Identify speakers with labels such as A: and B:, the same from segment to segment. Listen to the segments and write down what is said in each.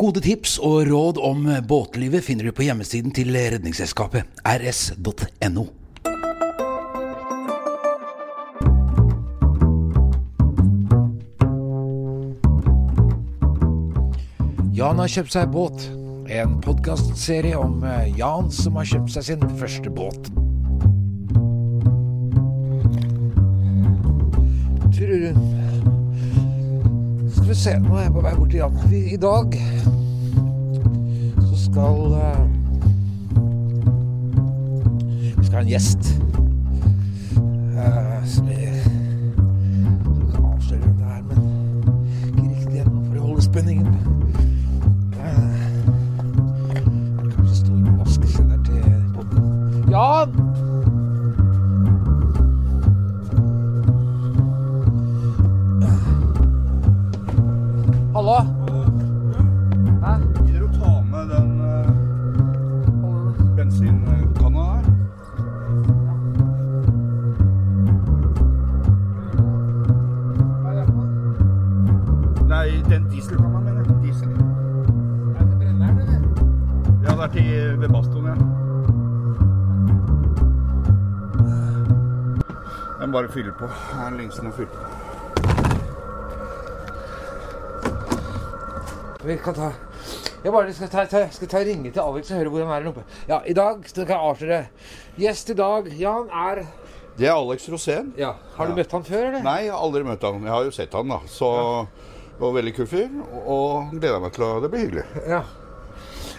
A: Gode tips og råd om båtlivet finner du på hjemmesiden til Redningsselskapet, rs.no.
B: Jan har kjøpt seg båt. En podkastserie om eh, Jan som har kjøpt seg sin første båt. Trurun. Skal vi se, nå er jeg på vei bort til Jan. Vi, I dag så skal eh, Vi skal ha en gjest. Eh, som vi skal ikke avsløre hvem det er, men ikke riktig ennå for å holde spenningen. Eh, Kanskje står og vasker seg der til podden. Jan! Hallo? Hæ?
C: Gidder du å ta med den uh, bensinkanna her? Nei, den dieselkanna, mener jeg. Diesel. Ja, det er til eh, ved Bastoen, ja. Jeg må bare fylle på. Det er lenge siden jeg fylte på.
B: Vi kan ta jeg bare skal ta, ta, skal ta ringe til Alex og høre hvor han er. her oppe. Ja, I dag skal jeg avsløre. Gjest i dag, Jan, er
C: Det er Alex Rosén.
B: ja. Har du
C: Ja.
B: møtt han før, eller?
C: Nei, jeg har aldri møtt han. Jeg har jo sett han, da. Så og veldig kul fyr. og- Og gleder meg til å Det blir hyggelig.
B: Ja.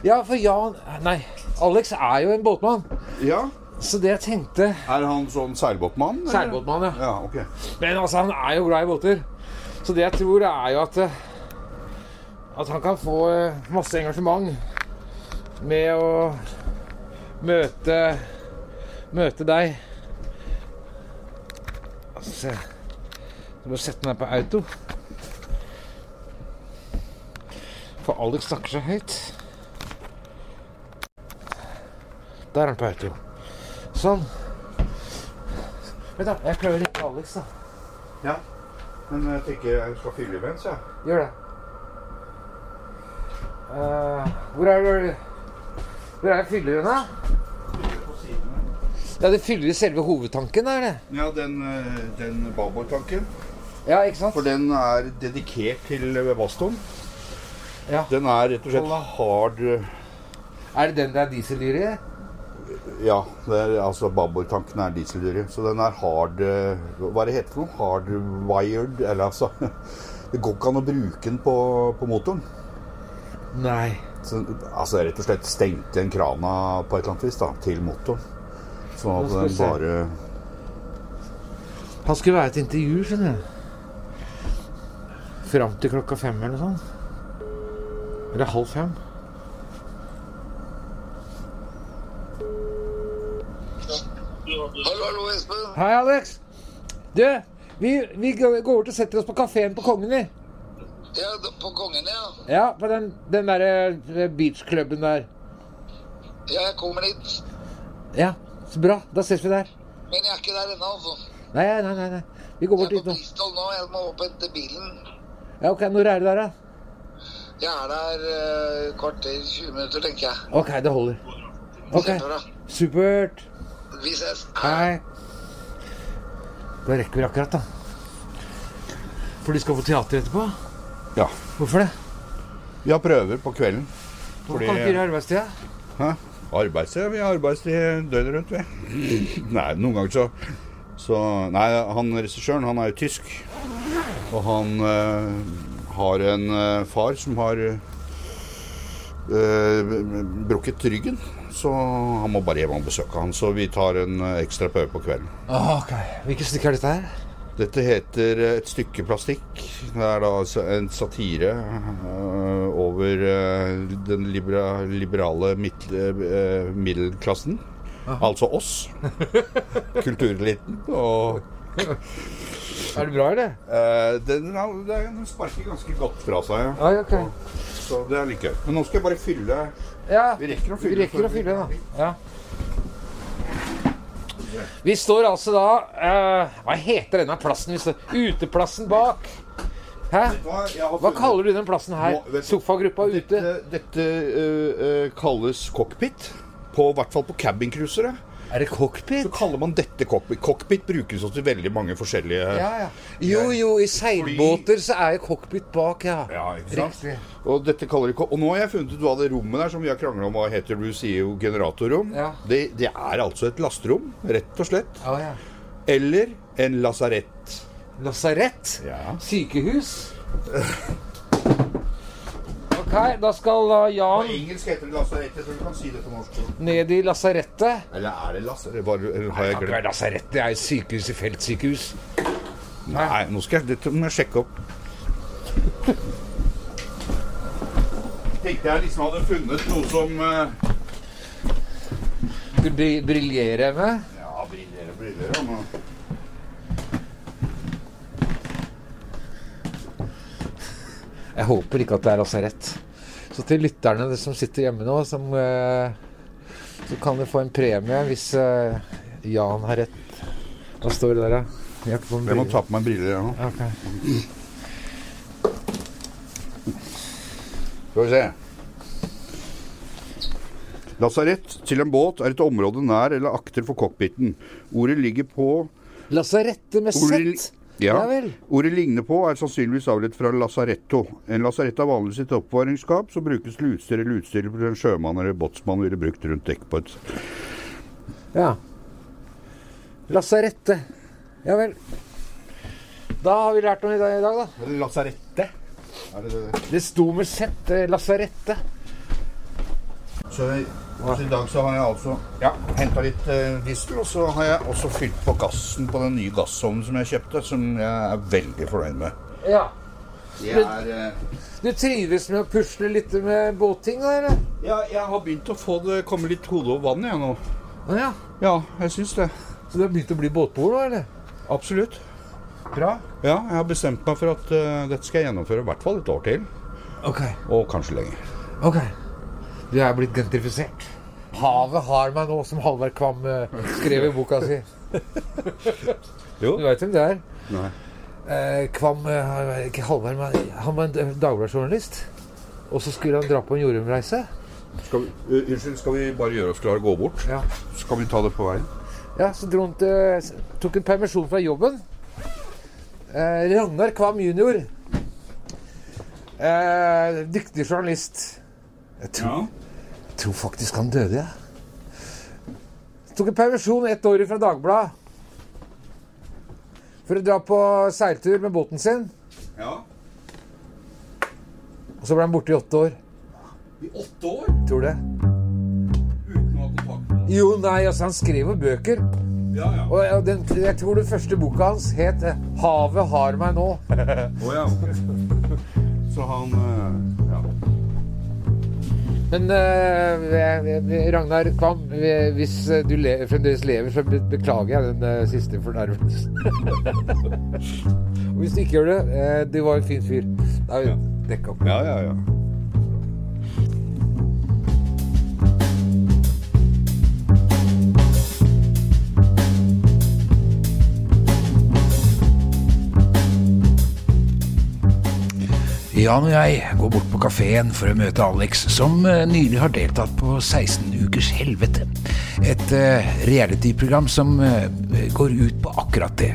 B: ja, for Jan Nei, Alex er jo en båtmann.
C: Ja.
B: Så det jeg tenkte
C: Er han sånn seilbåtmann? eller?
B: Seilbåtmann, ja.
C: Ja, ok.
B: Men altså, han er jo glad i båter. Så det jeg tror, er jo at eh, At han kan få eh, masse engasjement med å møte Møte deg. Altså, se. Du må sette den her på auto. For Alex snakker så høyt. Der er han på auto. Sånn. Vent, da. Jeg prøver å ringe Alex, da.
C: Ja. Men jeg tenker jeg skal fylle mens, jeg.
B: Gjør det. Eh, hvor er det Hvor er det fylleren, da? Ja, det fyller i selve hovedtanken, er det?
C: Ja, den, eh, den babordtanken.
B: Ja, ikke sant?
C: For den er dedikert til Baston.
B: Ja.
C: Den er rett og slett hard eh,
B: Er det den det er dieseldyr i?
C: Ja, det er, altså babordtanken er dieseldyret. Så den er hard eh, Hva er det heter for noe? Hardwired? Eller altså Det går ikke an å bruke den på, på motoren.
B: Nei.
C: Så, altså rett og slett stengte en krana på et eller annet vis da, til motoren. Sånn
B: Nå
C: at
B: skal vi
C: den
B: se.
C: bare
B: Han skulle være et intervju, skjønner du. Fram til klokka fem eller noe sånt. Eller halv fem.
D: Hallo, hallo, Espen.
B: Hei, Alex. Du, vi, vi går ut og setter oss på kafeen på Kongen, vi.
D: Ja, d- på Kongen, ja.
B: Ja, på den, den derre beachklubben der.
D: Ja, Jeg kommer dit.
B: Ja, så bra. Da ses vi der.
D: Men jeg er ikke der ennå, altså.
B: Nei, nei, nei. nei. Vi går
D: Jeg
B: bort
D: er
B: dit
D: på
B: nå.
D: Bristol nå. Jeg må opp etter bilen.
B: Ja, ok, Når er du der, da?
D: Jeg er der eh, kvarter, 20 minutter, tenker jeg.
B: Ok, det holder. Ok,
D: Kjempebra.
B: Supert.
D: Vi ses.
B: Hei. Da rekker vi akkurat, da. For de skal på teater etterpå?
C: Ja.
B: Hvorfor det?
C: Vi har prøver på kvelden.
B: Hvorfor
C: Fordi-
B: kan ikke de ha arbeidstida?
C: Hæ? Arbeidstid? Vi har arbeidstid døgnet rundt, vi. Nei, noen ganger så, så Nei, han regissøren, han er jo tysk. Og han eh, har en eh, far som har eh, eh, brukket ryggen. Så han må bare hjem og besøke han. Så vi tar en eh, ekstra prøve på kvelden.
B: Ah, Ok, Hvilket stykke er dette her?
C: Dette heter eh, Et stykke plastikk. Det er da altså en satire eh, over eh, den libera, liberale midt, eh, middelklassen. Altså oss. Kultureliten. Og
B: Er det bra, eller?
C: eh, den, ja, den sparker ganske godt fra seg. Ja.
B: Oi, ok.
C: Så det er like gøy. Men nå skal jeg bare fylle
B: Ja,
C: Vi rekker å
B: vi
C: fylle.
B: rekker
C: før
B: å
C: vi-
B: fylle, da. Ja. Vi står altså da eh, Hva heter denne plassen? Vi står Uteplassen bak. Hæ?
C: Hva, jeg har
B: Hva
C: funnet-
B: kaller du den plassen her?
C: Nå, vet du-
B: Sofagruppa ute?
C: Dette, dette øh, øh, kalles cockpit. På, I hvert fall på cabincruisere.
A: Er det cockpit?
C: Så kaller man dette cockpit. Cockpit brukes også til veldig mange forskjellige
B: Ja, ja. Jo, jo, i seilbåter så er jo cockpit bak, ja.
C: Ja, ikke sant?
B: Riktig.
C: Og dette kaller de ko- Og nå har jeg funnet ut hva det rommet der som vi har krangla om hva heter. Du sier jo generatorrom.
B: Ja.
C: Det, det er altså et lasterom, rett og slett.
B: Å, ja.
C: Eller en lasarett.
B: Lasarett?
C: Ja.
B: Sykehus? Ok, da skal da
C: På
B: Jan
C: engelsk heter det lasarett. Jeg tror du kan si det på norsk.
B: ned i lasarettet.
C: Eller er det lasarett? Var- eller Har jeg
B: Kan ikke være
C: glemt?
B: lasarett, det er jo sykehus i feltsykehus.
C: Nei, nå skal jeg, dette må jeg sjekke opp. Tenkte jeg liksom hadde funnet noe som eh,
B: Du bri- briljerer med.
C: Ja, briller og briller. ja, men-
B: Jeg håper ikke at det er lasarett. Så til lytterne de som sitter hjemme nå, som, eh, så kan du få en premie hvis eh, Jan har rett. Hva står det der, da? Jeg har ikke på meg
C: Jeg må
B: briller.
C: ta på meg briller jeg, nå.
B: Ok.
C: Skal vi se. Lasarett til en båt er et område nær eller akter for cockpiten. Ordet ligger på
B: Lasarette med
C: ordet,
B: sett!
C: ja,
B: Ja vel.
C: ordet ligner på er sannsynligvis avledet fra lasaretto. En lasarett er vanligvis et oppvaringsskap som brukes til utstyr eller utstyr for en sjømann eller båtsmann ville brukt rundt dekk på et
B: Ja. Lasarette. Ja vel. Da har vi lært noe i dag, i dag, da.
C: Lasarette? Er det det?
B: Det sto med sett. eh, Lasarette.
C: Så, jeg- så i dag så har jeg altså ja, henta litt eh, diesel, og så har jeg også fylt på gassen på den nye gassovnen som jeg kjøpte, som jeg er veldig fornøyd med.
B: Ja.
C: Det er, eh,
B: Du trives med å pusle litt med båtting, da, eller?
C: ja, jeg har begynt å få det komme litt hode over vannet, jeg nå.
B: Å ja.
C: Ja, jeg syns det.
B: Så du har begynt å bli båtbord nå, eller?
C: Absolutt.
B: Bra.
C: Ja, jeg har bestemt meg for at eh, dette skal jeg gjennomføre i hvert fall et år til.
B: Ok.
C: Og kanskje lenger.
B: ok. Du er blitt gentrifisert. Havet har meg nå, som Hallvard Kvam eh, skrev i boka si.
C: Jo.
B: Du veit hvem det er?
C: Nei.
B: Eh, Kvam eh, Ikke Hallvard, men han var en d- dagbladjournalist. Og så skulle han dra på en jordomreise.
C: Skal vi, eh, unnskyld, skal vi bare gjøre oss klare og gå bort?
B: Ja.
C: Så kan vi ta det på veien.
B: Ja, så dro han til s- Tok en permisjon fra jobben. Eh, Ragnar Kvam jr. Eh, dyktig journalist. Jeg tror, jeg tror faktisk han døde, jeg. Tok en permisjon ett år fra Dagbladet. For å dra på seiltur med båten sin.
C: Ja.
B: Og så ble han borte i åtte år.
C: I åtte år
B: Tror det.
C: uten å ha kontakt med
B: Jo, nei, altså, han skrev jo bøker.
C: Ja, ja.
B: Og og den, jeg tror den første boka hans het eh, 'Havet har meg nå'.
C: Å ja. Så han eh, ja.
B: Men eh, eh, Ragnar Kvam, eh, hvis eh, du le fremdeles lever, så be beklager jeg den eh, siste fornærmelsen. Og hvis du ikke gjør det, eh, du var en fin fyr. Da har vi dekka opp.
C: ja, ja, ja.
A: Jan og jeg går bort på kafeen for å møte Alex, som eh, nylig har deltatt på 16 ukers helvete. Et eh, reality-program som eh, går ut på akkurat det.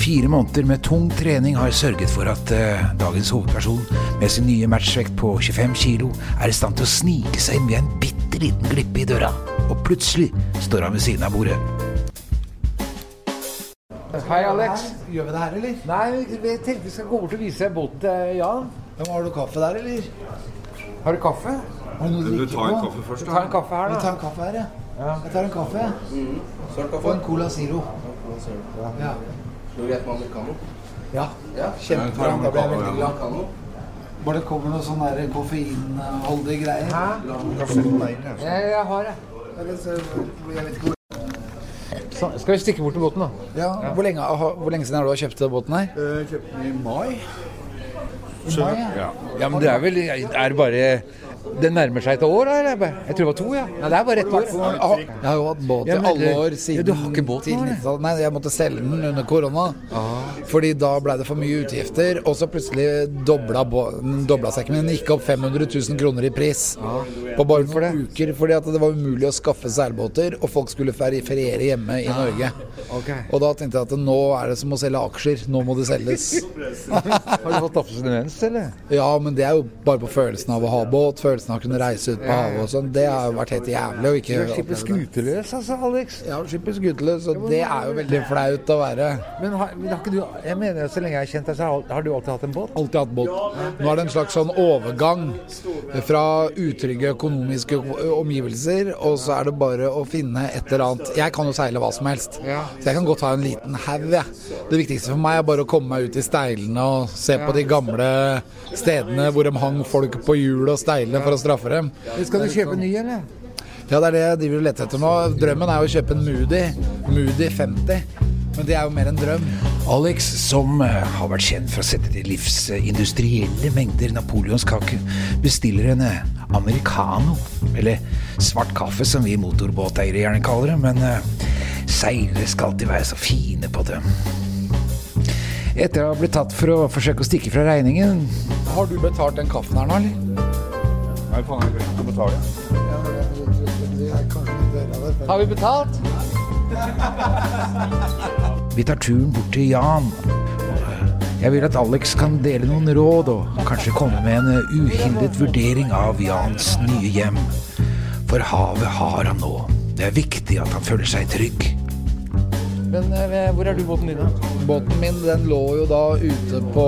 A: Fire måneder med tung trening har sørget for at eh, dagens hovedperson, med sin nye matchvekt på 25 kilo, er i stand til å snike seg inn ved en bitte liten glippe i døra. Og plutselig står han ved siden av bordet.
B: Hei, Alex.
E: Gjør vi det her, eller?
B: Nei, vi tenkte vi skal gå bort og vise deg båten til Jan.
E: Ja, men Har du kaffe der, eller?
B: Har du kaffe?
E: Har du noe å drikke på?
C: først,
B: Ta en kaffe her,
E: Jeg
B: da.
E: tar en kaffe her, jeg. Jeg tar en kaffe. jeg. Og en Cola Zero. Ja. Ja. Kjempebra. Da blir jeg veldig glad. Bare det kommer noe sånn der koffeinholdige greier.
B: Jeg, jeg har det.
E: Jeg vet- jeg vet ikke hvor-
B: Så, skal vi stikke bort til båten, da?
E: Ja, hvor lenge, aha, hvor lenge siden er det du har kjøpt den båten her?
C: Kjøpte den i mai.
E: I mai, ja.
B: Ja, men det er vel er det bare Det nærmer seg et år, da? eller? Jeg tror det var to, ja. Nei, det er bare ett år.
E: Ah, Jeg har jo hatt båt i
B: Ja, men
E: alle
B: du-
E: år
B: ja,
E: siden
B: du har ikke båt nå,
E: tidlig
B: eller? Ah.
E: 90-tallet. Nei, jeg måtte selge den under korona. Fordi da ble det for mye utgifter. Og så plutselig dobla, bå- den dobla seg ikke, men den gikk opp 500 000 kroner i pris. På bare noen uker. Fordi at det var umulig å skaffe seilbåter, og folk skulle ferie- feriere hjemme i Norge.
B: Ok.
E: Og da tenkte jeg at nå er det som å selge aksjer. Nå må de selges.
B: Har du fått tapset demens, eller?
E: Ja, men det er jo bare på følelsen av å ha båt, følelsen av å kunne reise ut på havet og sånn. Det har jo vært helt jævlig å ikke
B: Skipet
E: oppleve det.
B: skuterløs, altså, Alex.
E: Ja, skipet skuteløs, og det er jo veldig flaut å være.
B: Men har, men har ikke du Jeg mener, så lenge jeg har kjent deg, så har, har du alltid hatt en båt?
E: Alltid hatt båt. Nå er det en slags sånn overgang fra utrygge økonomiske omgivelser, og så er det bare å finne et eller annet Jeg kan jo seile hva som helst, så jeg kan godt ha en liten haug, jeg. Det viktigste for meg er bare å komme meg ut i steilene og se på de gamle stedene hvor de hang folk på hjul og steilene for å straffe dem.
B: Skal du kjøpe ny, eller?
E: Ja, det er det jeg driver og leter etter nå. Drømmen er jo å kjøpe en Moody. Moody 50. Men det er jo mer en drøm.
A: Alex, som eh, har vært kjent for å sette til livs eh, industrielle mengder napoleonskake, bestiller en eh, americano, eller svart kaffe som vi motorbåteiere gjerne kaller det, men eh, seilere skal alltid være så fine på det. Etter å ha blitt tatt for å forsøke å stikke fra regningen,
E: Har du betalt den kaffen her nå, eller?
C: Nei, faen, jeg kan ikke betale.
B: Har vi betalt?
A: vi tar turen bort til Jan. Og, eh, Jeg vil at Alex kan dele noen råd, og kanskje komme med en eh, uhildet vurdering av Jans nye hjem. For havet har han nå. Det er viktig at han føler seg trygg.
B: Men eh, hvor er du båten din, da?
E: Båten min den lå jo da ute på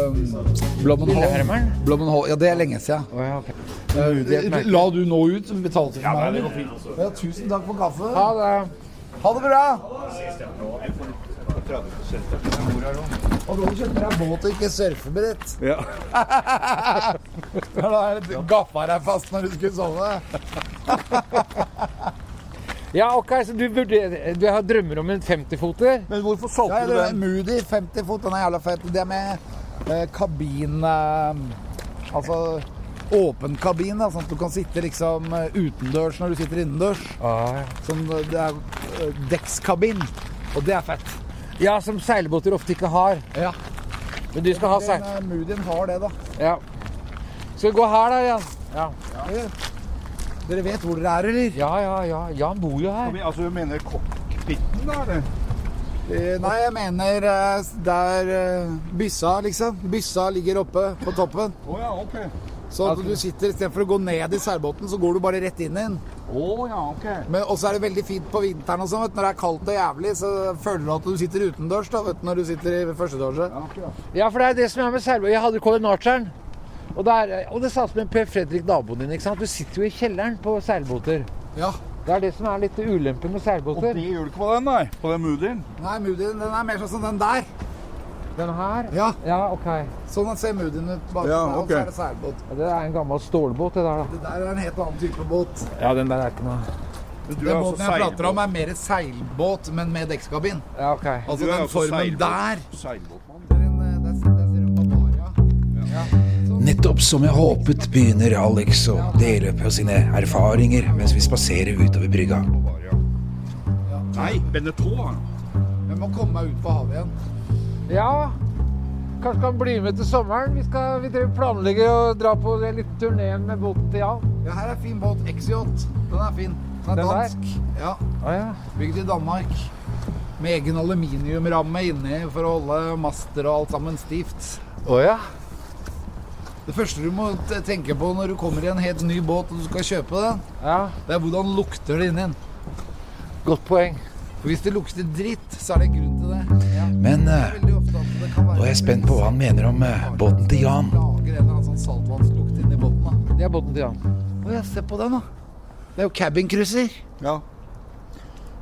E: eh, Blommenholm.
B: Lillehammeren?
E: Blommenholm. Ja, det er lenge siden.
B: Å ja, ok.
E: Eh, La du nå ut? Betalte du for meg? eller? Ja, tusen takk for kaffen.
B: Ha det.
E: Ha det bra! Og du kjøpte deg båt og ikke surfebrett.
C: Ja.
E: Da er det gaffa deg fast når du skulle sove.
B: Ja, ok, så du, vurderer- du har drømmer om en 50-foter?
C: Men hvorfor
E: Ja,
C: solgte
E: det er Moody 50 fot, den er jævla fet. Det er med eh, kabin eh, Altså åpen kabin, da, sånn at du kan sitte liksom eh, utendørs når du sitter innendørs.
B: Ah,
E: Sånn, eh, det er eh, dekkskabin, og det er fett.
B: ja. ja, som seilbåter ofte ikke har.
E: Ja.
B: Men du skal ha
E: Den,
B: seil...
E: eh, Moodyen har det, da.
B: Ja. Skal vi gå her, da, Jan? Ja,
E: Dere vet hvor dere er, eller?
B: ja, ja. ja. Jan bor jo her.
C: Altså, du mener cockpiten, da? eller?
E: Eh, Nei, jeg mener eh, der eh, byssa, liksom. Byssa ligger oppe på toppen.
C: Å ja, ok. Altså-
E: Så at du sitter istedenfor å gå ned i seilbåten, så går du bare rett inn i den.
C: Å ja, ok.
E: Men også er det veldig fint på vinteren og sånn. vet du. Når det er kaldt og jævlig, så føler du at du sitter utendørs da, vet du, når du sitter i første etasje.
C: Ja, akkurat.
B: Ja, for det er det som er med seilbåter. Jeg hadde koordinateren. Og, der, og det samme med Per Fredrik, naboen din. ikke sant? Du sitter jo i kjelleren på seilbåter.
E: Ja.
B: Det er det som er litt ulempe med
C: Og
B: seilbåter.
C: det gjør du ikke på den, nei? På den moodien?
E: Nei, Moodyen den er mer sånn som den der.
B: Den her.
E: Ja,
B: Ja, ok.
E: Sånn ser Moodyen ut. Bak
C: Ja,
E: meg, og
C: ok.
E: så er det seilbåt.
B: Ja, Det er en gammel stålbåt, det der, da.
E: Det der er en helt annen type båt.
B: Ja, den der er ikke noe
C: Men Du altså
E: Den båten jeg prater om, er mer seilbåt, men med dekkskabin.
B: Ja, ok.
E: Altså den formen der.
C: Seilbåtmann.
E: Det er en, eh, der ser- der ser du Bavaria.
A: Nettopp som jeg håpet, begynner Alex å dele på sine erfaringer mens vi spaserer utover brygga.
C: Nei, Benetton.
E: Jeg må komme meg ut på havet igjen.
B: Ja, kanskje kan bli med til sommeren. Vi, skal, vi driver- planlegger å dra på den lille turneen med båten til Jan.
E: Ja, her er fin båt. XJ. Den er fin. Den er
B: Den der?
E: dansk. Ja.
B: Ah, ja.
E: Bygd i Danmark. Med egen aluminiumramme inni for å holde master og alt sammen stivt.
B: ja.
E: Det første du må t- tenke på når du kommer i en helt ny båt og du skal kjøpe den, det er hvordan lukter det inni den.
B: Godt poeng.
E: For hvis det lukter dritt, så er det en grunn til det.
A: Men
E: Det er
A: eh,
E: veldig ofte at det kan være
A: nå er jeg spent på hva han mener om eh, båten til Jan.
E: Lager en eller annen sånn saltvannslukt inni båten. da.
B: Det er båten til Jan.
E: Å ja, se på den, da. Det er jo cabincruiser.
C: Ja.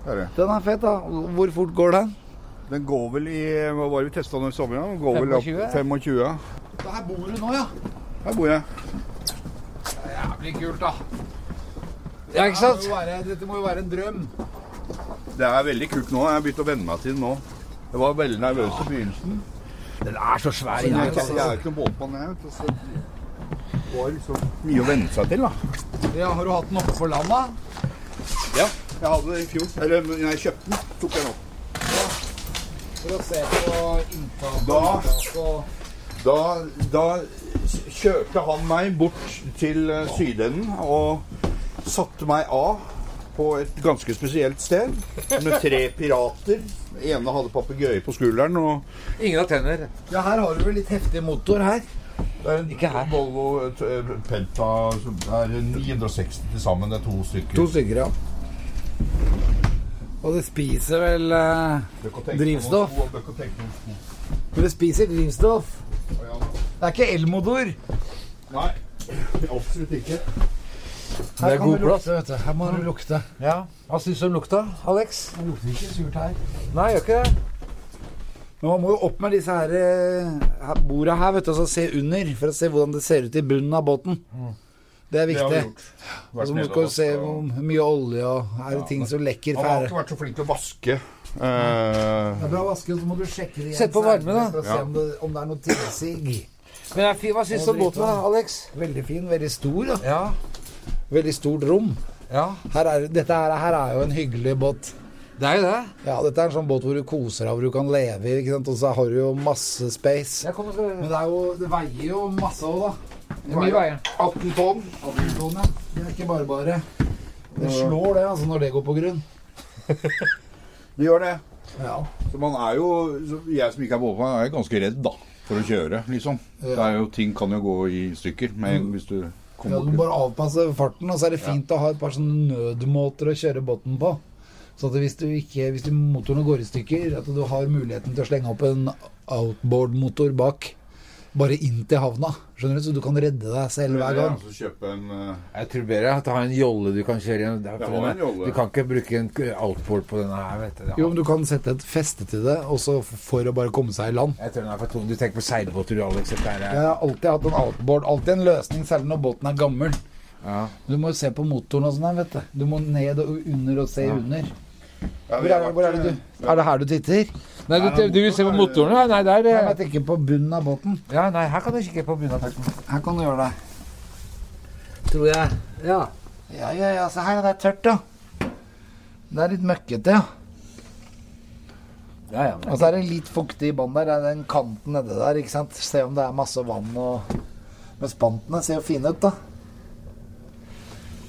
C: Det er det.
E: Den er fet, da. Hvor fort går den?
C: Den går vel i Hva var det vi testa den i sommer? da? Den går vel opp
B: 25?
C: 25. ja.
E: Her bor du nå, ja.
C: Her bor jeg.
E: Jævlig kult, da.
B: Ja, ikke sant?
E: Det må jo være, dette må jo være en drøm.
C: Det er veldig kult nå. Jeg har begynt å venne meg til den nå. Jeg var veldig nervøs i begynnelsen.
E: Den er så svær.
C: Jeg er ikke- jeg er ikke noen båtmann, jeg. vet du, så- var liksom mye å venne seg til, da.
E: Ja, har du hatt den oppe for landa?
C: Ja, jeg hadde det i fjor. Eller når jeg kjøpte den, tok jeg den opp.
E: For å se på inntak
C: Da,
E: og
C: da, da s- kjørte han meg bort til eh, sydenden og satte meg av på et ganske spesielt sted med tre pirater. Den ene hadde papegøye på skulderen, og
F: Ingen har tenner.
E: Ja, her har du vel litt heftig motor her.
C: det er en
F: Ikke her.
C: Volvo eh, Penta som er 960 til sammen. Det er to stykker.
E: To stykker, ja. Og det spiser vel eh, Drivstoff.
C: Drivstoff.
E: Men det spiser drivstoff. Det er ikke elmotor.
C: Nei, absolutt ikke.
E: Her
B: er
E: kan
B: god
E: du lukte, vet du. Her må du lukte.
B: Ja. Hva syns du om lukta, Alex?
E: Det lukter ikke surt her.
B: Nei, gjør ikke det.
E: Men man må jo opp med disse her, eh, her borda her, vet du, og så se under. For å se hvordan det ser ut i bunnen av båten. Det
C: Det har
E: er
C: vi
E: viktig.
C: gjort.
E: Og så må
C: nede
E: du
C: og
E: se
C: vaske,
E: hvor
C: og-
E: mye olje og Er det ting som lekker
C: Han
E: fra
C: har
E: her?
C: ikke vært så flink til å vaske. Eh,
E: Det er bra å vaske, og så må du sjekke det igjen.
B: Sett på varme,
E: senere
B: da.
E: For å se om det, om det er noe tilsig.
B: Men jeg, hva syns du om båten, da, Alex?
E: Veldig fin, veldig stor. Da.
B: Ja.
E: Veldig stort rom.
B: ja.
E: Her er, dette her, her er jo en hyggelig båt.
B: Det er jo det.
E: Ja, dette er en sånn båt hvor du koser deg, hvor du kan leve i, ikke sant? og så har du jo masse space.
B: Jeg kommer og skal
E: Men det, er jo, det veier jo masse òg, da.
B: Det er mye veier.
C: 18 tonn.
E: Atomtone. Det er ikke bare bare. Det slår det, altså, når det går på grunn.
C: Det gjør det.
E: Ja.
C: Så man er jo, så jeg som ikke er båtmann, er jo ganske redd da, for å kjøre, liksom. Det er jo, ting kan jo gå i stykker med, en- hvis du
E: Mm. Ja,
C: kommer
E: du må
C: bort
E: bare avpasse farten, og så er det fint å ha et par sånne nødmåter å kjøre båten på. Så at hvis, du ikke, hvis du motorene går i stykker, at du har muligheten til å slenge opp en outboard-motor bak. Bare inn til havna, skjønner du? Så du kan redde deg selv hver gang.
C: Så kjøpe en eh,
B: Jeg tror bedre at du har en jolle du kan kjøre igjen.
C: Jeg har en jolle.
B: Du kan ikke bruke en outboard på denne her, vet du. Ja.
E: Jo, men du kan sette et feste til det, også for å bare komme seg i land.
B: Jeg tror den er for tung. Du tenker på seilbåter, du, Alex. Dette er,
E: Jeg har alltid hatt en outboard, alltid en løsning, selv når båten er gammel.
B: Ja.
E: Du må jo se på motoren og sånn her, vet du. Du må ned og under og se under.
C: ja, vi
E: Hvor er,
C: har
E: hvor er
C: vært,
E: det du Er det her du titter?
B: Nei, du, du, vil se på motoren? Ja, nei, der
E: Nei, men
B: eh,
E: jeg tenker på bunnen av båten.
B: Ja, nei, her kan du kikke på bunaden.
E: Her kan du gjøre det. Tror jeg. Ja. Ja, ja, ja. Se her, det er tørt, ja. Det er litt møkkete, ja.
B: Ja, ja,
E: Og så er det litt fuktig i bånn der. Det er den kanten nede der, ikke sant. Se om det er masse vann og Men spantene ser jo fine ut, da.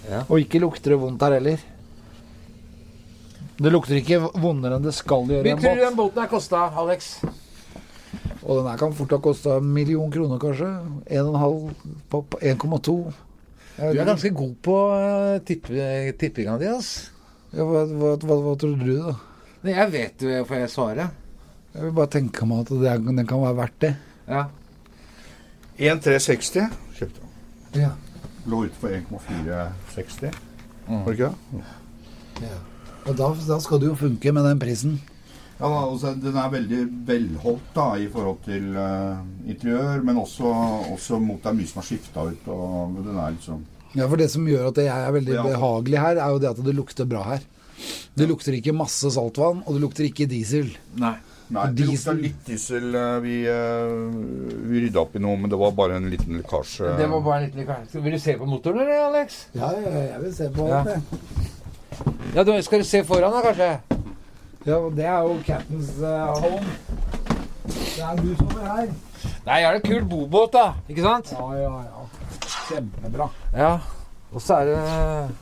B: Ja.
E: Og ikke lukter det vondt her heller. Det lukter ikke vondere enn det skal gjøre i
B: Mye
E: en
B: tror du
E: båt.
B: den båten er kosta, Alex?
E: Og den her kan fort ha kosta en million kroner, kanskje. 1,5 på på 1,2. Jeg vet
B: Du er
E: ikke.
B: ganske god på eh, tippe- tippinga di, ass.
E: Ja, hva, hva, hva, hva tror du, da?
B: Nei, jeg vet jo, får jeg svare?
E: Jeg vil bare tenke meg at det er, den kan være verdt det.
B: Ja.
C: En 360 kjøpte han.
E: Ja.
C: Lå ute for 1,460. Var det ikke det?
E: Og da, da skal det jo funke med den prisen.
C: Ja, da, altså, Den er veldig velholdt da, i forhold til eh, interiør, men også, også mot det er mye som har skifta ut. og den er liksom...
E: Ja, For det som gjør at jeg er veldig
C: Ja.
E: behagelig her, er jo det at det lukter bra her. Det lukter ikke masse saltvann, og det lukter ikke diesel.
B: Nei.
C: Nei,
E: Og
C: det lukta
E: diesel.
C: litt diesel. eh, Vi, eh, vi rydda opp i noe, men det var bare en liten lekkasje.
B: Det var bare litt litt Vil du se på motoren, eller, Alex?
E: Ja, jeg vil se på
B: alt, jeg. Ja, du, Skal du se foran, da, kanskje?
E: Ja, og Det er jo Captain's eh, Home. Det er du som er her.
B: Nei, jeg har en kul bobåt, da. Ikke sant?
E: Ja, ja, ja. Kjempebra.
B: Ja. Og så er det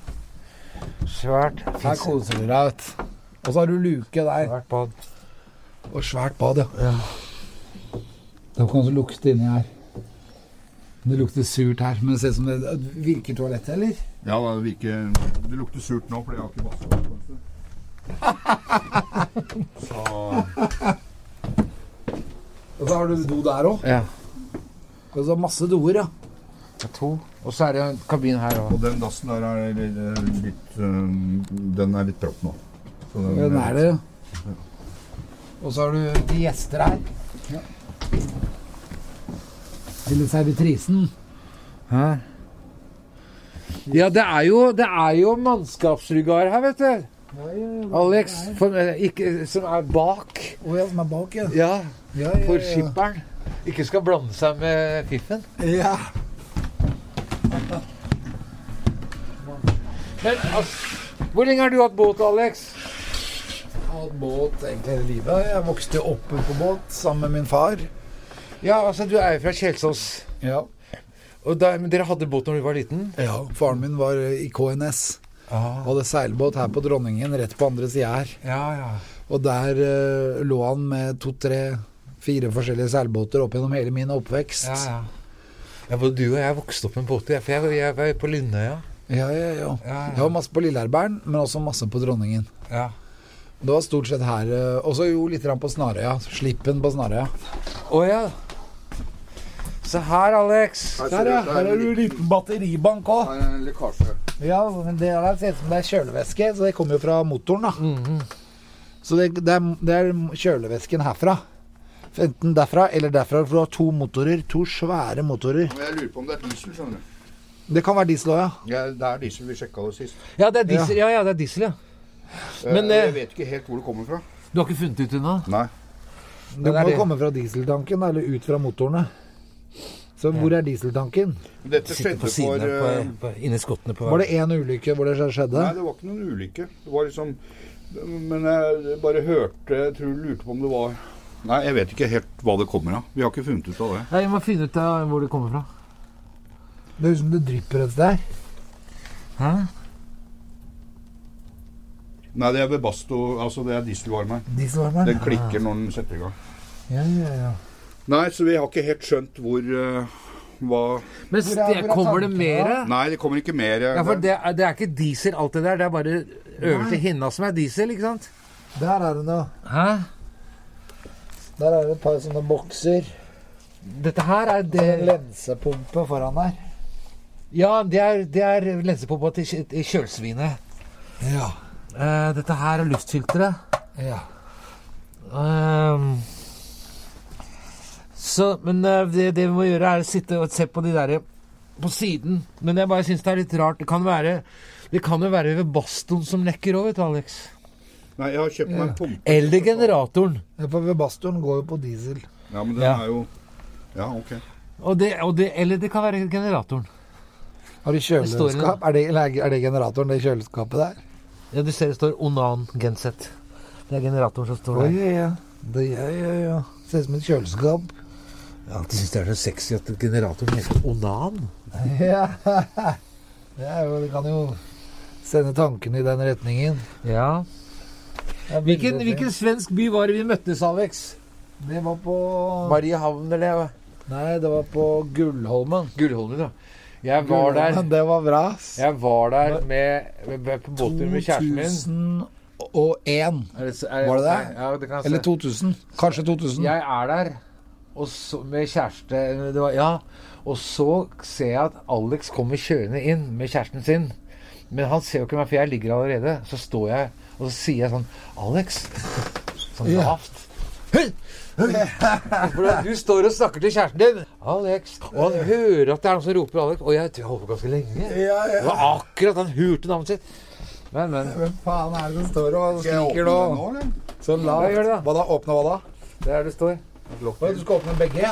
B: svært
E: Her koser du deg, vet du. Og så har du luke der.
B: Svært bad.
E: Og svært bad, ja. Det kan også lukte inni her. Det lukter surt her, men det ser ut som det Virker toalettet, eller?
C: Ja, da, det, virker, det lukter surt nå, for jeg har ikke vasket opp. Så
E: Og så har du do der òg.
B: Ja.
E: Og så masse doer, ja.
B: Det er to. Og så er det en kabin her òg.
C: Og den dassen der er litt, litt eh, Den er litt propp nå. Så den-
E: Den er det, ja. Og så har du de gjester her. Eller servitrisen.
B: Her. Ja, det er jo, det er jo mannskapsrugar her, vet du. Alex, for, eh, ikke, som er bak.
E: Å ja, som er bak, ja.
B: Ja,
E: Ja, ja,
B: for
E: ja.
B: skipperen. Ikke skal blande seg med fiffen.
E: Ja.
B: Men altså, hvor lenge har du hatt båt, Alex?
E: Jeg har hatt båt egentlig hele livet. Jeg vokste opp på båt sammen med min far.
B: Ja, altså, du er jo fra Kjelsås.
E: Ja.
B: Og da, men dere hadde båt når du var liten?
E: Faren min var eh, i KNS.
B: Ah.
E: Hadde seilbåt her på Dronningen, rett på andre sida her.
B: Ja, ja.
E: Og der eh, lå han med to, tre, fire forskjellige seilbåter opp gjennom hele min oppvekst.
B: Ja, ja. ja både du og jeg vokste opp med båter. jeg- For jeg, jeg var på Lindøya.
E: Ja, ja, ja.
B: Ja, ja.
E: Jeg var masse på Lilleherbergen, men også masse på Dronningen.
B: Ja.
E: Det var stort sett her eh, Også jo litt grann på Snarøya. Slippen på Snarøya.
B: Å ja. Se her, Alex.
D: Her ser det ut til å være en
E: liten batteribank òg.
D: her er en eh, lekkasje.
E: Ja, men det der ser ut som det er kjølevæske, så det kommer jo fra motoren, da. Så det, det, er, det er kjølevæsken herfra. Enten derfra eller derfra, for du har to motorer. To svære motorer.
D: Men jeg lurer på om det er diesel, skjønner du.
E: Det kan være diesel òg, ja.
D: Ja, det er diesel vi sjekka det sist.
B: Ja, det er diesel. Ja, ja, det er diesel, ja.
D: Eh,
B: Men, eh,
D: jeg vet ikke helt hvor det kommer fra.
B: Du har ikke funnet ut ennå?
D: Nei.
E: Det
B: Den er
E: må
B: det.
E: komme fra dieseltanken, eller ut fra motorene. Så hvor er dieseltanken?
D: Men dette
B: Sitter
D: skjedde
B: på
D: for
B: siden
D: eh,
B: her, på, på, inni skottene på
E: Var det én ulykke hvor det skjedde?
D: Nei, det var ikke noen ulykke. Det var liksom Men jeg bare hørte Jeg tror jeg lurte på om det var Nei, jeg vet ikke helt hva det kommer av. Vi har ikke funnet ut av det.
B: Nei, Vi må finne ut av hvor det kommer fra.
E: Det høres ut som det drypper et sted.
B: Hæ?
D: Nei, det er Webasto Altså, det er dieselvarmeren.
E: Dieselvarmeren.
D: Den klikker når den setter i gang.
E: Ja, ja, ja.
D: Nei, så vi har ikke helt skjønt hvor eh, hva
B: Men
E: Hvor er-
B: det,
E: hvor er
B: kommer det
E: tankene,
B: mer?
E: da?
D: Nei, det kommer ikke mer. eh,
B: Ja, for det er, det er ikke diesel, alt det der. Det er bare øverste hinna som er diesel, ikke sant?
E: Der er det noe.
B: Hæ?
E: Der er det et par sånne bokser.
B: Dette her er
E: Det
B: det
E: er lensepumpe foran der.
B: Ja, det er, det er lensepumpa til kjø- til kjølsvinet.
E: Ja.
B: Eh, dette her er luftfilteret.
E: ja.
B: Ehm, så, men eh, det, det vi må gjøre, er å sitte og se på de der på siden. Men jeg bare syns det er litt rart. Det kan være det kan jo være ved bastoen som lekker òg, vet du, Alex.
D: Nei, jeg har kjøpt meg en pumpe.
B: Eller generatoren.
E: Ja, For Webastoren går jo på diesel.
D: Ja, men den
B: Ja.
D: er jo Ja, ok.
B: Og det, og det, eller det kan være generatoren.
E: Har du
B: står en-
E: kjøleskap? Er det, eller er det generatoren, det kjøleskapet der?
B: Ja, du ser det står Onan Genset. Det er generatoren som står
E: Oi,
B: der.
E: ja, ja. Det, ja, ja, ja. Ser ut som et kjøleskap.
B: Jeg alltid syns det er så sexy at generatoren heter Onan.
E: Ja. Det, er jo, det kan jo sende tankene i den retningen.
B: Ja.
E: Det er veldig
B: Hvilken,
E: fint.
B: hvilken svensk by var det vi møttes, Alex?
E: Det var på
B: Mariehamn eller
E: Nei, det var på Gullholmen.
B: Gullholmen, ja. Jeg var der,
E: Det var bra. ass.
B: jeg var der med, med, med, på båttur med kjæresten min.
E: 2001.
B: Er det, er,
E: Var det der?
B: Ja, det kan
E: Eller
B: jeg se.
E: 2000. Kanskje 2000.
B: Jeg er der og så, med kjæreste det var, Ja. Og så ser jeg at Alex kommer kjørende inn med kjæresten sin. Men han ser jo ikke meg, for jeg ligger allerede. Så står jeg, og så sier jeg sånn Alex. Sånn
E: Ja.
B: lavt. «Hei!» For Du står og snakker til kjæresten din. Alex. Og han hører at det er noen som roper Alex. Og jeg tror jeg holdt på ganske lenge.
E: Ja,
B: Det var akkurat han hørte navnet sitt. Men, men.
E: Hvem faen er det som står og
D: Skal jeg åpne
E: skriker
D: den
E: nå?
D: nå, eller?
E: Så lavt.
B: Ja, gjør det da.
E: Hva da? Åpne hva da?
B: Det er der det står.
E: Hva, Du skal åpne begge? ja?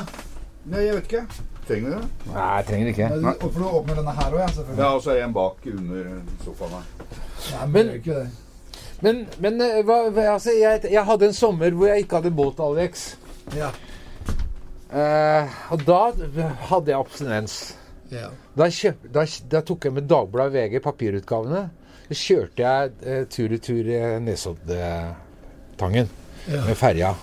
D: Nei, jeg vet ikke. Trenger du det?
B: Nei, jeg trenger ikke.
E: Nei, du- For du åpner denne her òg, ja? Selvfølgelig.
D: Ja, og så er en bak under sofaen her.
E: Nei,
B: Men-
E: men, det er jo ikke det.
B: Men, men eh, hva, hva, altså, jeg, jeg hadde en sommer hvor jeg ikke hadde båt, Alex.
E: Ja.
B: Eh, og da hadde jeg abstinens.
E: ja.
B: Da, kjøp, da, da tok jeg med Dagbladet VG papirutgavene. Så kjørte jeg eh, tur-retur eh, Nesoddtangen
E: Ja.
B: med ferja.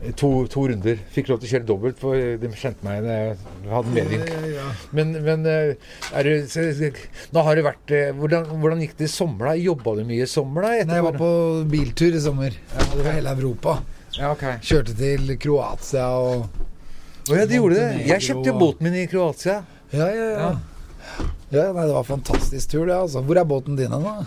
B: Eh, To, to runder. Fikk lov til å kjøre dobbelt, for de kjente meg når jeg hadde medvind.
E: Ja, ja.
B: Men, men eh, er du, så, så, nå har det vært eh, hvordan, hvordan gikk det i sommer, da? Jobba du mye i sommer, da?
E: Nei, jeg var på biltur i sommer. Jeg var over hele Europa.
B: Ja, ok.
E: Kjørte til Kroatia og
B: Å ja, de gjorde det.
E: Montenegro
B: Jeg kjøpte jo
E: og-
B: båten min i Kroatia.
E: Ja, ja, ja. Ja, nei, Det var fantastisk tur, det. altså. Hvor er båten din hen, da?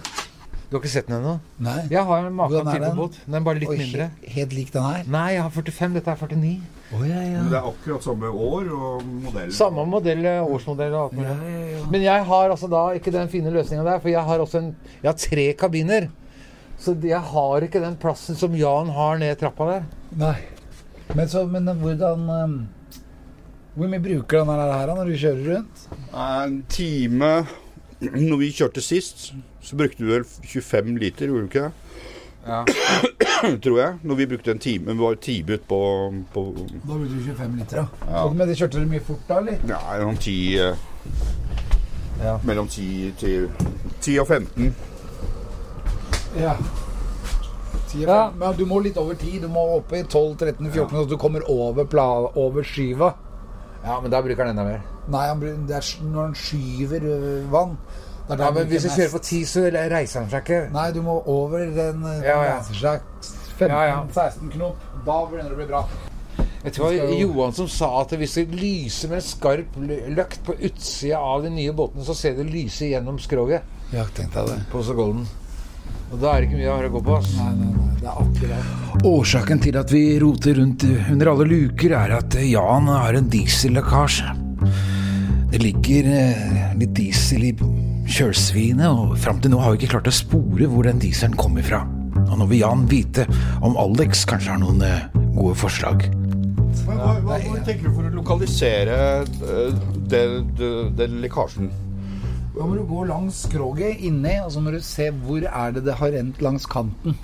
B: Du har ikke sett den ennå?
E: Nei?
B: Jeg har en maken
E: Hvordan er
B: til på
E: den?
B: båt. Den er bare litt
E: Oi,
B: mindre.
E: he- Helt lik den her?
B: Nei, jeg har 45. Dette er 49.
E: Å, ja, ja.
D: Men det er akkurat samme år og modell.
B: Samme modell, eh, årsmodell og alt mulig. Men jeg har altså da ikke den fine løsninga der, for jeg har også en Jeg har tre kabiner. Så det- jeg har ikke den plassen som Jan har ned trappa der.
E: Nei. Men, så, men hvordan um, Hvor mye bruker den her, her når du kjører rundt?
C: En time Når vi kjørte sist, så brukte vi vel 25 liter, gjorde vi ikke det?
B: Ja.
C: Tror jeg. Når vi brukte en time. Vi var en time ute på, på
E: Da blir du 25 liter, ja.
C: Ja.
E: Og med det kjørte dere mye fort da, eller?
C: ja, mellom 10 eh,
E: Ja.
C: Mellom 10 til 10 og 15.
E: Ja.
B: Ja.
E: Men du må litt over 10. Du må opp i 12-13-14, så du kommer over, pla- over skyva.
B: ja, men da bruker han enda mer.
E: Nei, han, blir- det er s- når han skyver ø, vann. Det er da
B: Ja,
E: han
B: men
E: bruker
B: Hvis vi
E: mest.
B: kjører på ti, så reiser han seg ikke.
E: Nei, du må over den ø,
B: Ja, ja.
E: reiser seg
B: Ja, ja.
E: 15-16 knop. Da begynner det å bli bra.
B: Jeg tror det var Johan som sa at hvis det lyser med en skarp lø- løkt på utsida av de nye båtene, så ser det lyse gjennom skroget
E: Ja, tenk deg det.
B: på Oslo Golden. Og da er det ikke mye å ha å gå på. ass.
E: Nei, nei, nei, det er akkurat
A: Årsaken til at vi roter rundt under alle luker, er at Jan har en diesellekkasje. Det ligger eh, litt diesel i kjølsvinet, og fram til nå har vi ikke klart å spore hvor den dieselen kommer fra. Og nå vil Jan vite om Alex kanskje har noen eh, gode forslag.
C: Hva, hva, hva, hva tenker du for å lokalisere eh, det- det- den lekkasjen?
E: Da må du gå langs skroget inni, og så må du se hvor er det det har rent langs kanten.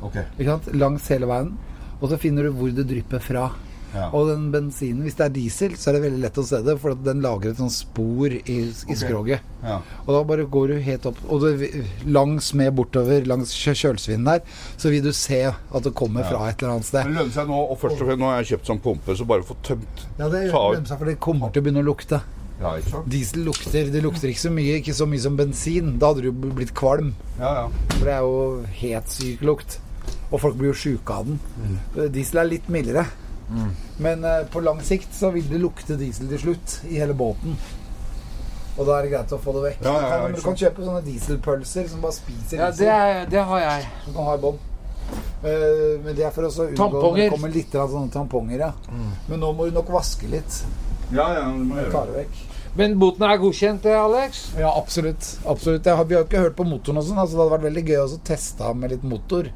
C: Ok.
E: Ikke sant? Langs hele veien. Og så finner du hvor det drypper fra.
C: Ja.
E: Og den bensinen, hvis det er diesel, så er det veldig lett å se det, for at den lager et sånt spor i, i skroget.
C: Ja.
E: Og da bare går du helt opp Og det, langs med bortover, langs kjø- kjølsvinden der, så vil du se at det kommer fra et eller annet
C: Det
E: sted.
C: lønner seg nå, og først og fremst nå har jeg kjøpt sånn pumpe, så bare få tømt
E: Ja, det
C: Ta ut.
E: glemmer seg, for det kommer til å begynne å lukte.
C: Ja, ikke sant?
E: Diesel lukter. Det lukter ikke så mye, ikke så mye som bensin. Da hadde du jo blitt kvalm.
C: Ja, ja.
E: For det er jo helt syk lukt. Og folk blir jo sjuke av den.
C: Mm.
E: Diesel er litt mildere. Men eh, på lang sikt så vil det lukte diesel til slutt i hele båten. Og da er det greit å få det vekk.
C: Ja, ja, ja,
E: Men du kan kjøpe sånne dieselpølser som bare spiser
B: Ja, det,
E: diesel.
B: er, det har jeg.
E: Som kan ha i bånn. Eh, men det er for å så unngå
B: Tamponger.
E: Det kommer litt av sånne tamponger, ja.
C: Mm.
E: Men nå må du nok vaske litt.
C: ja, ja du må gjøre
E: Ta
C: det.
E: det vekk.
B: Men boten er godkjent, eh, Alex?
E: Ja, absolutt. absolutt. Jeg har, vi har ikke hørt på motoren og sånn. Altså, det hadde vært veldig gøy å teste med litt motor.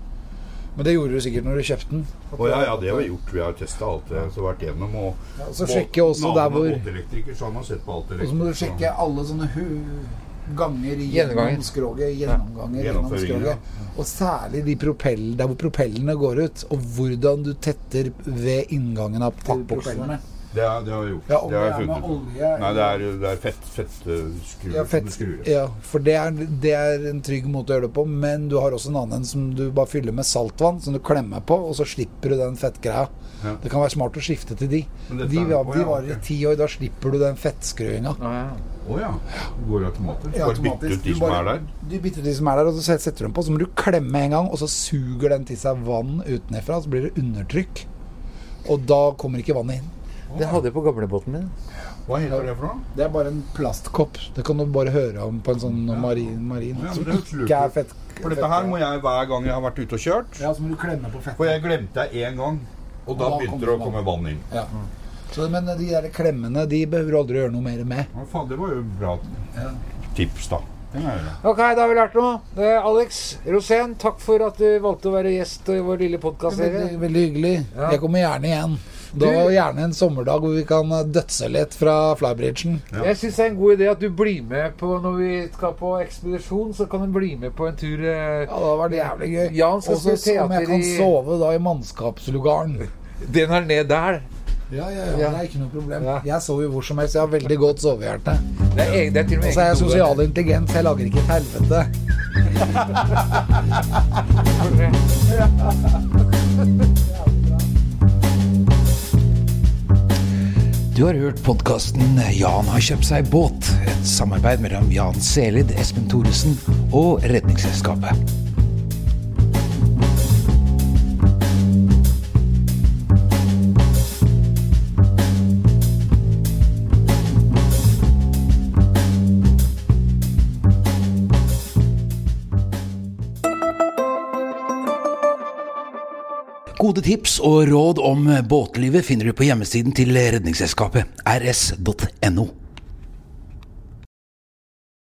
E: Men det gjorde du sikkert når du kjøpte den.
C: Å, ja, ja, det har vi gjort. Vi har testa alt det som har vært gjennom. Og
E: Ja, og så sjekke også der hvor Og
C: Båtelektriker, så han har sett på alt
E: så må du sjekke alle sånne hu ganger i
B: Gjennomganger.
E: gjennom skroget. Gjennomganger gjennom
C: Gjennomføringer,
E: skroget. Og særlig de propell, der hvor propellene går ut. Og hvordan du tetter ved inngangen av til propellene.
C: Det, er- det har vi gjort.
E: Ja, om
C: det har
E: det er
C: jeg
E: med
C: funnet ut.
E: olje
C: Nei, det er, det er fett, fett eh, skruer
E: Ja,
C: som
E: fett,
C: du skrur i.
E: ja, for det er, det er en trygg måte å gjøre det på, men du har også en annen som du bare fyller med saltvann, som du klemmer på, og så slipper du den fettgreia.
C: Ja.
E: Det kan være smart å skifte til de.
C: Men
E: De,
C: dette er-
E: var-
C: å,
E: de
C: ja,
E: varer i
C: ok.
E: ti år, da slipper du den fettskruinga.
B: Å, ja.
C: Å ja. Det går automatisk.
E: Ja,
C: Bare bytte ut
E: automatisk.
C: de
E: Du
C: som
E: bare-
C: er der.
E: Du bytter de som er der, og så set- setter du dem på. Så må du klemme en gang, og så suger den til seg vann utenfra. Så blir det undertrykk. Og da kommer ikke vannet inn.
B: Det hadde jeg på gamlebåten min.
C: Hva heter det for noe?
E: Det er bare en plastkopp. Det kan du bare høre om på en sånn marin, marin
C: Ja,
E: som
C: men det sluker.
E: ikke er fett.
C: For dette her må jeg hver gang jeg har vært ute og kjørt.
E: Ja, så må du klemme på fett.
C: For jeg glemte det én gang, og da
E: Og da
C: begynte
E: kom
C: det å
E: vann.
C: komme vann inn.
E: Ja. Så, men eh, de der klemmene de behøver du aldri gjøre noe mer med.
C: Å, faen, det var jo bra tips, da. Det må jeg gjøre.
B: Ok, da har vi lært noe. Eh, Alex Rosén, takk for at du valgte å være gjest i vår lille
E: Veldig,
B: podkastserie.
E: veldig hyggelig.
B: Ja.
E: Jeg kommer gjerne igjen. Da
B: Du-
E: Gjerne en sommerdag hvor vi kan eh, dødse litt fra flybridgen.
C: Ja.
B: Jeg syns det er en god idé at du blir med på når vi skal på ekspedisjon, så kan du bli med på en tur. eh,
E: Ja, det hadde vært jævlig gøy.
B: Jan skal
E: Også
B: spille
E: om jeg
B: teater
E: kan
B: i-
E: sove da i mannskapslugaren.
B: Den er ned der.
E: Ja, ja,
B: Ja.
E: Det er ikke noe problem.
B: Ja.
E: Jeg sover jo hvor som helst. Jeg har veldig godt sovehjerte.
B: Det er, egen, det er til og
E: Og
B: med
E: så er jeg
B: egen do
E: sosial intelligens. Jeg lager ikke et helvete.
B: der.
A: Du har hørt podkasten 'Jan har kjøpt seg båt'. Et samarbeid mellom Jan Selid, Espen Thoresen og Redningsselskapet. Gode tips og råd om båtlivet finner du på hjemmesiden til Redningsselskapet, rs.no.